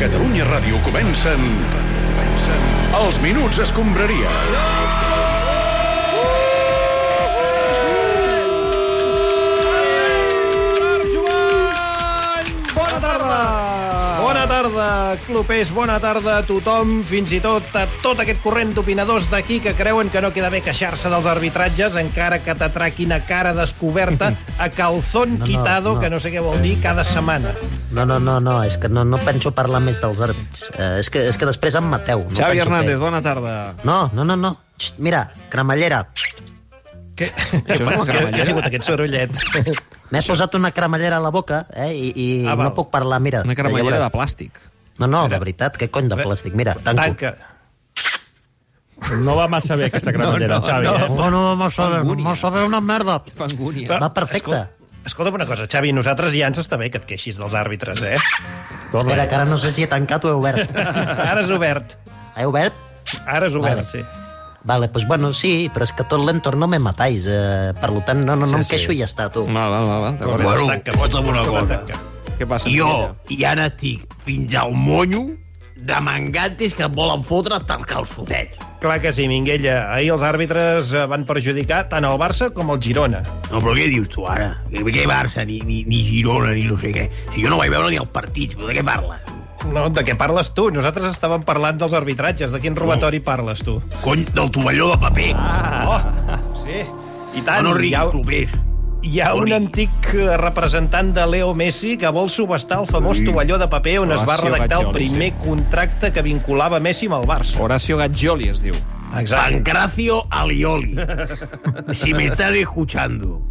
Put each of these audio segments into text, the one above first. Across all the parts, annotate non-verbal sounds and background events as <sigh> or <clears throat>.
Catalunya Ràdio comencen... comencen... Els Minuts Escombraria. Bona tarda! Bona tarda, clubers, bona tarda a tothom, fins i tot a tot aquest corrent d'opinadors d'aquí que creuen que no queda bé queixar-se dels arbitratges, encara que t'atraquin a cara <laughs> descoberta, a calzón no, quitado, no. Eh, que no sé què vol dir, cada setmana. No, no, no, no, és que no, no penso parlar més dels àrbits. Eh, és, que, és que després em mateu. No Xavi penso Hernández, fer. bona tarda. No, no, no, no. Xt, mira, cremallera. Que, és que, una que cremallera? ha sigut aquest sorollet? M'he posat una cremallera a la boca eh, i, i Ah, ah, val. no puc parlar, mira. Una caramellera de llavors- plàstic. No, no, de veritat, què cony de plàstic? Mira, tanco. Tanca. No va massa bé <laughs> aquesta cremallera, no, Xavi. No. Eh? No, no, no, no, no, no, una merda. Fangúnia. Va perfecte. Escolta'm una cosa, Xavi, nosaltres ja ens està bé que et queixis dels àrbitres, <laughs> eh? Espera, que ara no sé si he tancat o he <laughs> obert. Ara és obert. He obert? Ara és obert, Vale. sí. Vale, pues bueno, sí, però és que tot l'entorn no me matáis. Eh, per lo tant, no, no, no em queixo i ja està, tu. Val, val, val. val. d'acord. Bueno, tanca. escolta'm una cosa. Tanca. Què passa? Jo ja n'estic fins al monyo de mangantes que em volen fotre hasta el calçotet. Clar que sí, Minguella. Ahir els àrbitres eh, van perjudicar tant el Barça com el Girona. No, però què dius tu ara? Que Què Barça, ni, ni, ni Girona, ni no sé què? Si jo no vaig veure ni el partit, però de què parla? No, de què parles tu? Nosaltres estàvem parlant dels arbitratges. De quin robatori parles tu? Cony del tovalló de paper. Ah, Oh, sí. I tant. no hi, riguis, ha, clubers. hi ha un Ori. antic eh, representant de Leo Messi que vol subestar el famós tovalló de paper on es va Horacio redactar el Baggioli, primer contracte que vinculava Messi amb el Barça. Horacio Gaggioli es diu. Oh. Exacte. Pancracio Alioli. Si me estás escuchando,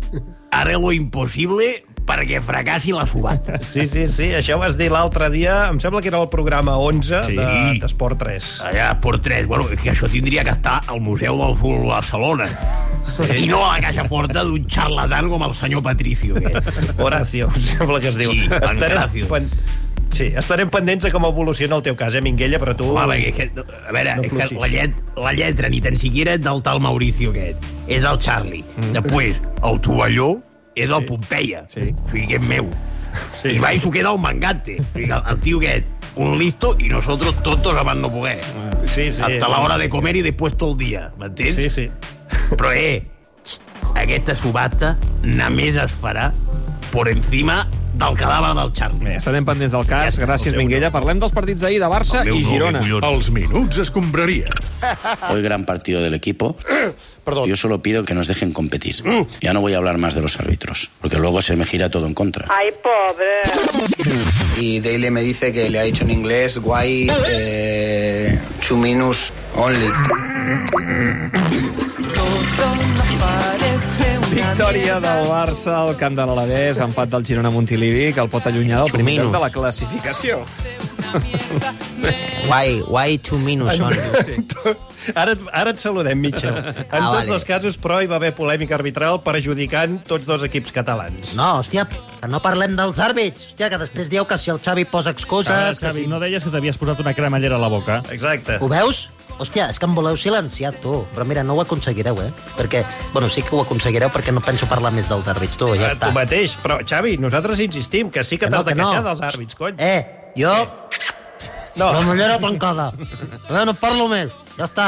haré lo imposible para que fracasi la subasta. Sí, sí, sí. Això vas dir l'altre dia, em sembla que era el programa 11 Sí. de- d'Esport 3. Allà, por tres. Bueno, és que això tindria que estar al Museu del Futbol de Barcelona. I no a la caixa forta d'un xarlatán com el senyor Patricio. Oh. Aquest. Horacio, <laughs> em sembla que es diu. Sí, Pancracio. pen... sí, estarem pendents de com evoluciona el teu cas, eh, Minguella, però tu... Home, perquè, és que, no, a veure, No no és que fluixis. la, llet, la lletra ni tan siquiera és del tal Mauricio aquest, és del Charlie. Mm. Després, el tovalló és del sí. Pompeia. Sí. O sigui, que és meu. Sí. Sí. I va i s'ho queda el mangante. O sigui, el, el tio aquest, un listo, i nosotros tontos abans no poder. Sí, sí. Hasta la hora tota de comer i després tot el dia, m'entens? Sí, <laughs> sí. Però, eh, aquesta subhasta només es farà por encima del cadàver del Bé, Charlie. estarem pendents del cas. Ja, Gràcies, el teu Minguella. Parlem dels partits d'ahir de Barça i Girona. Els Minuts Escombraria. Hoy gran partido del equipo. Yo solo pido que nos dejen competir. Ya no voy a hablar más de los árbitros, porque luego se me gira todo en contra. Ay, pobre. Y Daily me dice que le ha dicho en inglés, guay, eh, two minus only. Victòria del Barça al camp de l'Alavés, empat del Girona a Montilivi, que el pot allunyar del primer lloc de la classificació. Why, why two minus only? Ara, et- ara et saludem, Mitchell. En ah, tots vale. dos casos, però, hi va haver polèmica arbitral perjudicant tots dos equips catalans. No, hòstia, que no parlem dels àrbits. Hòstia, que després dieu que si el Xavi posa excuses... Xavi, Que si... No deies que t'havies posat una cremallera a la boca? Exacte. Ho veus? Hòstia, és que em voleu silenciar, tu. Però mira, no ho aconseguireu, eh? Perquè, bueno, sí que ho aconseguireu perquè no penso parlar més dels àrbits, tu, ja Eh, Ara està. Tu mateix. Però, Xavi, nosaltres insistim que sí que, t'has de queixar dels àrbits, cony. Eh, jo... No, La mullera tancada. Eh, no parlo més. Ja està.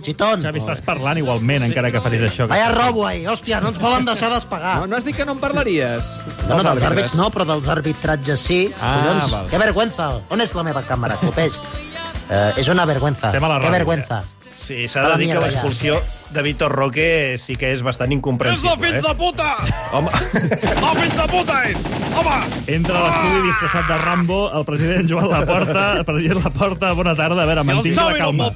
Xitón. Xavi, estàs parlant igualment, encara que facis això. Vaya robo, ahí. Hòstia, no ens volen deixar despegar. No, no has dit que no en parlaries? Doncs No, no, dels àrbits no, però dels arbitratges sí. Ah, Collons, val. que vergüenza. On és la meva càmera, Clopés? Uh, és una vergüenza. Estem a la Que ràdio, vergüenza. sí, s'ha de dir que l'expulsió de Vitor Roque sí que és bastant incomprensible. És la fins de puta! Home, Entra a l'estudi disfressat de Rambo, el president Joan Laporta, el president Laporta, bona tarda, a veure, mantingui la calma.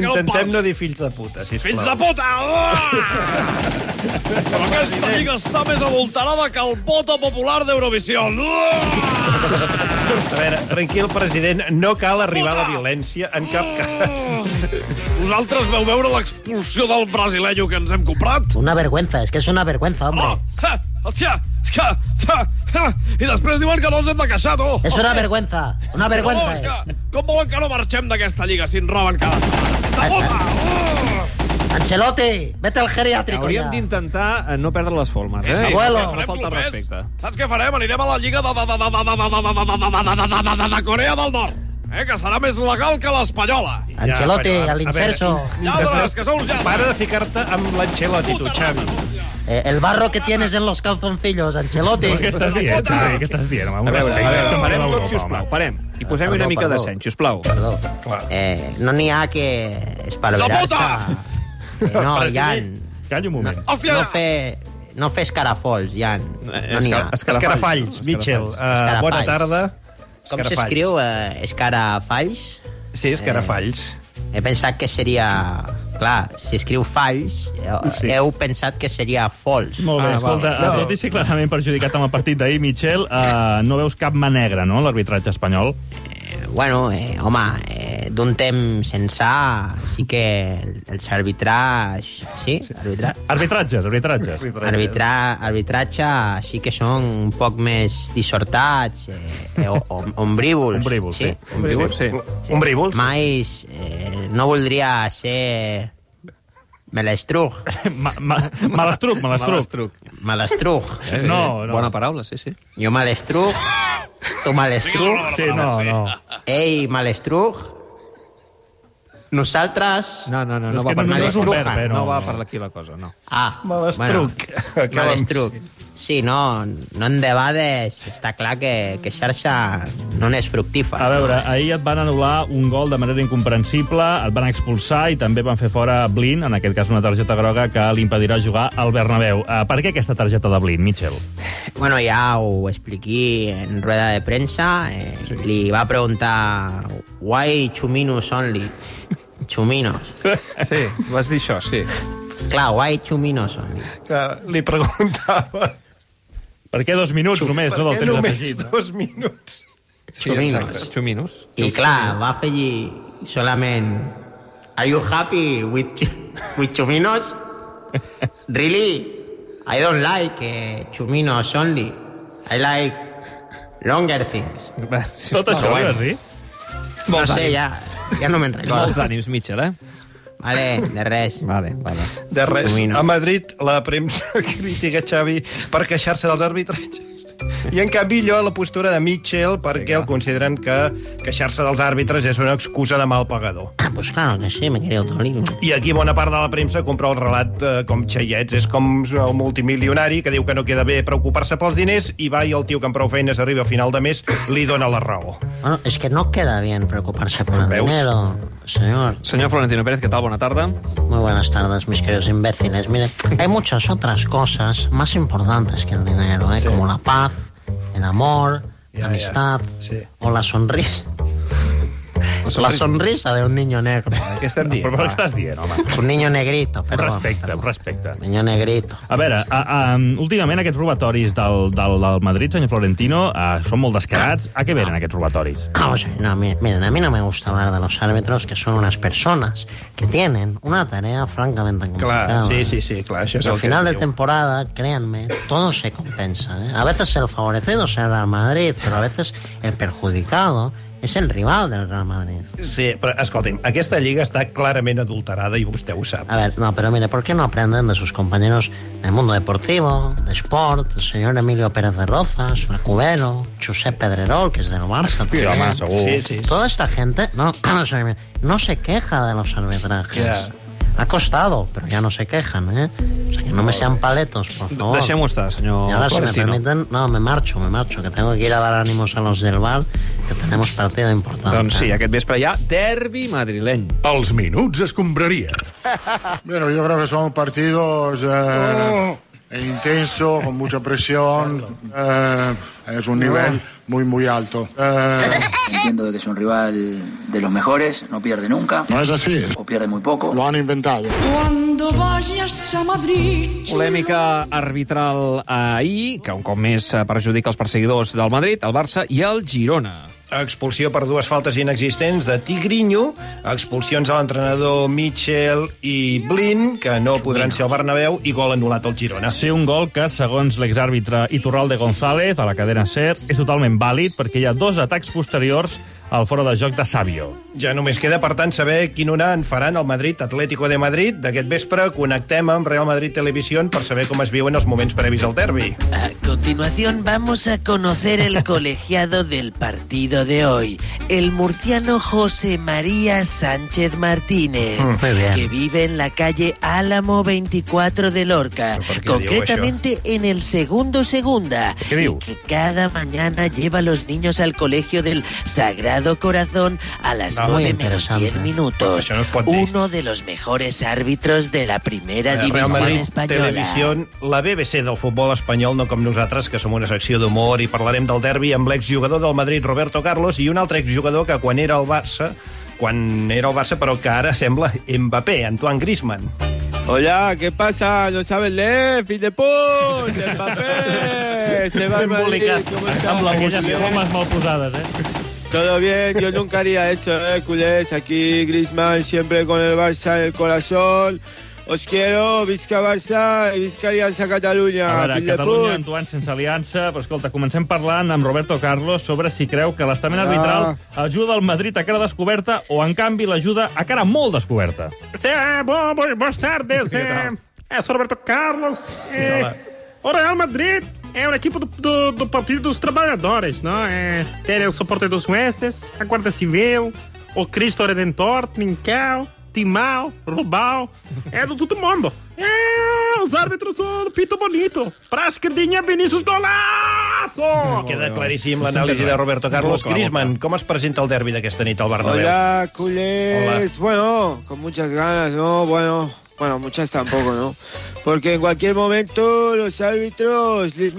intentem no dir fills de puta, sisplau. Fills de puta! Ah! Aquesta lliga està més adulterada que el voto popular d'Eurovisió. Ah! A veure, tranquil, president, no cal arribar a la violència en cap cas. Vosaltres veu veure l'expulsió del brasileño que ens hem comprat? Una vergüenza, és que és una vergüenza, hombre. Oh, sa, hòstia, és que... Sa, ha, I després diuen que no ens hem de queixar, tu. És una vergüenza, una vergüenza. Oh, és és. que, com volen que no marxem d'aquesta lliga si ens roben cada setmana? De puta! Oh! Eh, Ancelotti, vete al geriátrico ja. Hauríem d'intentar eh, no perdre les formes, eh? Sí, saps abuelo. què farem, No falta clubers? respecte. Saps què farem? Anirem a la lliga de, de, de, de, de, de, de, de, de, de, de, de, de Corea del Nord. eh, que serà més legal que l'espanyola. Ancelotti, bueno, a a- l'inserso. a Lladres, que sou lladres. Para de ficar-te amb l'Ancelotti, tu, Xavi. Eh, el barro que tienes en los calzoncillos, Ancelotti. Què estàs dient, Xavi? Què estás dient? Home, A veure, a veure, Estem parem parlant tots, d'Europa, sisplau, home. parem. I posem una Perdó, mica de perdó. seny, sisplau. Perdó. Eh, no n'hi ha que esparverar-se. No, Jan, Calla un moment. Hòstia! no fer, no fer escarafolls, Jan. Eh, No n'hi ha. Ah. Escarafalls, Mitchell. Uh, Escarafalls. bona tarda. Com Escarafalls. s'escriu? Eh, escarafalls? Sí, escarafalls. He pensat que seria... Clar, si escriu falls, eh, Sí. heu pensat que seria falls. Molt bé, Ah, escolta, val. tot i ser clarament perjudicat amb el partit d'ahir, Michel, eh, no veus cap mà negra, no?, a l'arbitratge espanyol. Bueno, eh, home, eh, d'un temps ençà sí que el- els arbitrats... Sí? Arbitra... Arbitratges, arbitratges. Eh, Arbitra, eh. arbitratge sí que són un poc més dissortats, eh, eh, o, o, ombrívols. Ombrívols, sí. Ombrívols. Sí, Un brívols. Mai eh, no voldria ser melestruj, <laughs> Ma- ma- Malastruc, malastruc. Malastruc. <laughs> melestruj. Eh, No, eh, no. Bona paraula, sí, sí. Jo melestruj, tu melestruj, Sí, no, no. ell melestruj, nosaltres... No, no, no, És no va que per no aquí. és un No, verb, eh, no. no va per aquí la cosa, no. Ah, Malestruc. Bueno, Acabem- malestruc. Sí, no, no en debades. Està clar que, que xarxa no n'és fructífer. A veure, ahir et van anul·lar un gol de manera incomprensible, et van expulsar i també van fer fora Blin, en aquest cas una targeta groga que li impedirà jugar al Bernabéu. Eh, per què aquesta targeta de Blin, Michel? Bueno, ja ho expliqué en rueda de premsa. Eh, sí. Li va preguntar... Why chuminos only? Chuminos. <laughs> Sí, vas dir això, sí. Clar, why chuminos only? Que li preguntava... Per què dos minuts només, no, Per del què temps només afegit? dos minuts? Sí, Xuminos. exacte. Xuminos. I clar, va afegir solament... Are you happy with, chu- with chuminos? Really? I don't like eh, chuminos only. I like longer things. Va, sí, Tot això ho bueno. vas dir? No sé, ja, ja no me'n Molts recordo. ànims, Mitchell, eh? Vale, de res. Vale, vale. De res. Domino. A Madrid, la premsa <laughs> critica Xavi per queixar-se dels arbitratges. <laughs> I en canvi allò la postura de Mitchell perquè el consideren que queixar-se dels àrbitres és una excusa de mal pagador. Ah, pues claro que sí, me quería otro libro. I aquí bona part de la premsa compra el relat eh, com xaiets. És com el multimilionari que diu que no queda bé preocupar-se pels diners i va i el tio que amb prou feines arriba a final de mes li dona la raó. Bueno, es que no queda bien preocuparse por el ¿Veus? dinero, señor. Senyor Florentino Pérez, què tal? Bona tarda. Muy buenas tardes, mis queridos imbéciles. Mire, hay muchas otras cosas más importantes que el dinero, ¿eh? como la paz, el amor, Ya, la amistad ya. Sí. o la sonrisa. La sonrisa de un niño negro. ¿eh? <laughs> Què estem dient? Però, però què estàs dient, home? Un niño negrito, Un perdón. respecte, un perdón. respecte. Niño negrito. A veure, a, a, um, últimament aquests robatoris del, del, del Madrid, senyor Florentino, a, són molt descarats. A què venen aquests robatoris? Vamos a ver, Ah, no, mi- miren, a mí no me gusta hablar de los árbitros, que son unas personas que tienen una tarea francamente complicada. Clar, sí, sí, sí, clar, això és Ah, Al el final que de es diu. temporada, créanme, todo se compensa. ¿eh? A veces el favorecido es el Real Madrid, pero a veces el perjudicado es el rival del Real Madrid. Sí, però escolti'm, aquesta lliga està clarament adulterada i vostè ho sap. A ver, no, pero mire, ¿por qué no aprenden de sus compañeros del mundo deportivo, de Sport, el señor Emilio Pérez de Rozas, Cubero, Josep Pedrerol, que es del Barça? Sí, también? home, segur. Sí, sí, Toda esta gente no, <clears throat> no, se, no se queja de los arbitrajes. Ya. Ha costado, pero ya no se quejan, ¿eh? O sea, que no me sean paletos, por favor. Deixem-ho estar, senyor Y ahora, si me Florentino. permiten, no, me marcho, me marcho, que tengo que ir a dar ánimos a los del bar, que tenemos partido importante. Doncs sí, aquest vespre hi ha derbi madrileny. Els minuts escombraria. Bueno, yo creo que son partidos eh, intensos, con mucha presión. eh, es un nivel muy, muy alto. Eh, Entiendo de que es un rival de los mejores, no pierde nunca, no es así, o pierde muy poco. lo han inventado. Cuando vayas a Madrid. Polèmica arbitral ahir, que un cop més eh, perjudica els perseguidors del Madrid, el Barça i el Girona. Expulsió per dues faltes inexistents de Tigrinho, expulsions a l'entrenador Mitchell i Blin, que no podran ser al Bernabéu, i gol anul·lat al Girona. Ser un gol que, segons l'exàrbitre Iturralde González, a la cadena SER, és totalment vàlid perquè hi ha dos atacs posteriors al fora de joc de Sabio. Ja només queda, per tant, saber quin una en faran el Madrid Atlético de Madrid. D'aquest vespre connectem amb Real Madrid Televisió per saber com es viuen els moments previs al derbi. <laughs> A continuación vamos a conocer el colegiado del partido partido de hoy, el murciano José María Sánchez Martínez, Mm, muy bien. que vive en la calle Álamo 24 de Lorca, qué diu concretamente en el segundo segunda, Què diu? que cada mañana lleva a los niños al colegio del Sagrado Corazón a las No, muy 9 menos interesante. 10 minutos. Això no es pot dir. Uno de los mejores árbitros de la primera Eh, Real división Madrid, española. Televisió, la BBC del futbol espanyol, no com nosaltres, que som una secció d'humor i parlarem del derbi amb l'exjugador del Madrid, Roberto Carlos, i un altre exjugador que quan era al Barça, quan era al Barça, però que ara sembla Mbappé, Antoine Griezmann. Hola, ¿qué pasa? ¿No sabes leer? ¡Filepón! ¡El papel! ¡Se va al Madrid! ¿Cómo estás? Aquelles bromes mal posades, eh? Todo bien, yo nunca haría eso, ¿eh, culés? Aquí Griezmann siempre con el Barça en el corazón. Os quiero, visca Barça y visca Alianza A Cataluña. veure, fill de Catalunya, put. Antoine, sense aliança, però escolta, comencem parlant amb Roberto Carlos sobre si creu que l'estament Ah. arbitral ajuda el Madrid a cara descoberta o, en canvi, l'ajuda a cara molt descoberta. Sí, eh, bo, bo, boas tardes. É, é, sou Roberto Carlos. eh, É, olá. o Real Madrid é uma equipe do, do, do Partido dos Trabalhadores, não? É, tem o suporte dos jueces, a Guarda Civil, o Cristo Redentor, Trinquel, Timal, Rubal. É do todo mundo. É, os árbitros do Pito Bonito. Prascadinha Vinícius Golaço! Queda claríssim l'anàlisi de Roberto Carlos. Griezmann, com es presenta el derbi d'aquesta nit al Bernabéu? Hola, culés. Bueno, con muchas ganas, ¿no? Bueno, bueno, muchas tampoco, ¿no? Porque en cualquier momento los árbitros, los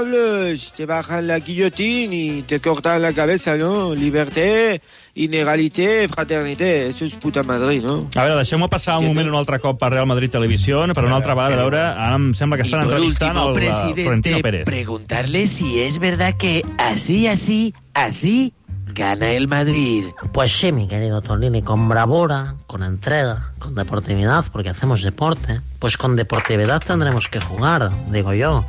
miserables, te bajan la guillotina y te cortan la cabeza, ¿no? Liberté, inegalité, fraternité. Eso es puta Madrid, ¿no? A veure, deixeu-me passar un moment un altre cop per Real Madrid Televisió, per una altra vegada, a veure, ara em sembla que Y estan por entrevistant último, el eh, Florentino presidente, Pérez. preguntarle si es verdad que así, así, así gana el Madrid. Pues sí, mi querido Tolini, con bravura, con entrega, con deportividad, porque hacemos deporte, pues con deportividad tendremos que jugar, digo yo.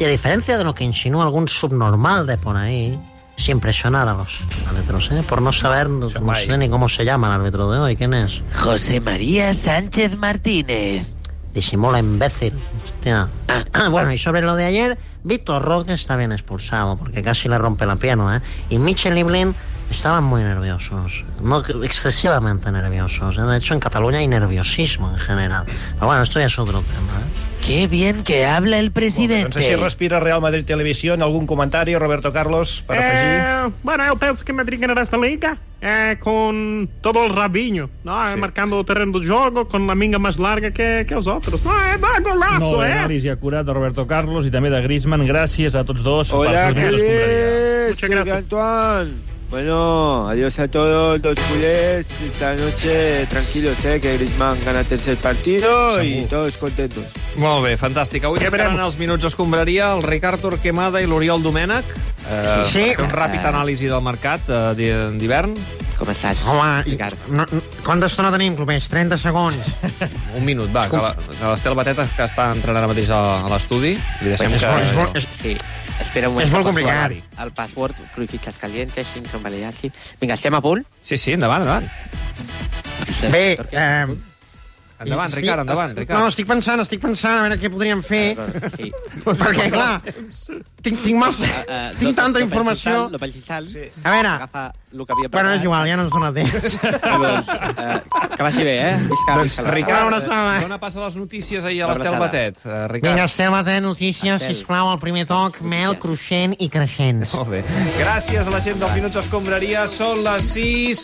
Y a diferencia de lo que insinúa algún subnormal de por ahí, sin presionar a los árbitros, ¿eh? por no saber, no, no sé ni cómo se llama el árbitro de hoy, ¿quién es? José María Sánchez Martínez. Disimula, imbécil. Hostia. Ah, bueno, y sobre lo de ayer, Víctor Roque está bien expulsado porque casi le rompe la pierna. ¿eh? Y Michel y Blin estaban muy nerviosos, no excesivamente nerviosos. ¿eh? De hecho, en Cataluña hay nerviosismo en general. Pero bueno, esto ya es otro tema. ¿eh? Qué bien que habla el Doncs així presidente. respira Real Madrid Televisió. En algun comentari, Roberto Carlos, per afegir? É, bueno, eu penso que Madrid ganhará esta liga é, com todo o rabinho, não? É, Eh, marcando o terreno do jogo, com a minga mais larga que, que os outros. Não, é dá Molt golaço, eh? bé, é? anàlisi acurat de Roberto Carlos i també de Griezmann. Gràcies a tots dos per Hola, els minuts culés. Muchas gracias. Soy Antoine. Bueno, adiós a todos los culés. Esta noche tranquilos, eh, que Griezmann gana tercer partido y todos contentos. Molt bé, fantàstic. Avui Què quedaran veurem? els minuts escombraria el Ricard Torquemada i l'Oriol Domènech. Eh, Sí. per Fer un ràpid anàlisi del mercat eh, di- d'hivern. Com estàs? Home, i- no, no, quanta estona tenim, Clopés? 30 segons. Un minut, va, que la- que l'Estel Bateta, que està entrant ara mateix a, a l'estudi, li deixem Pues és que... molt- és molt- és- Sí, espera un moment. És molt que poso complicat. El, el password, crucifixes calientes, síndrome validar, sí. Vinga, estem a punt? Sí, sí, endavant, endavant. Bé, eh, Endavant, estic- Ricard, endavant, estic- Ricard. No, estic pensant, estic pensant a veure què podríem fer. Sí. Perquè, clar, tinc, tinc, massa, Eh, tinc lo- tanta lo informació... Pelcisal, Lo Pelcisal. Sí. A veure. Agafa el que havia Bueno, és igual, ja no ens dona temps. Llavors, eh, que vagi bé, eh? Visca, Doncs, visca. Ricard, Una abraçada. dona pas a les notícies ahir a Una l'Estel abraçada. Batet. Eh, Ricard. Vinga, Estel, va tenir notícies, Estel. sisplau, al primer toc, mel, cruixent i creixents. Molt bé. Gràcies a la gent del Minuts Escombraria. Són les 6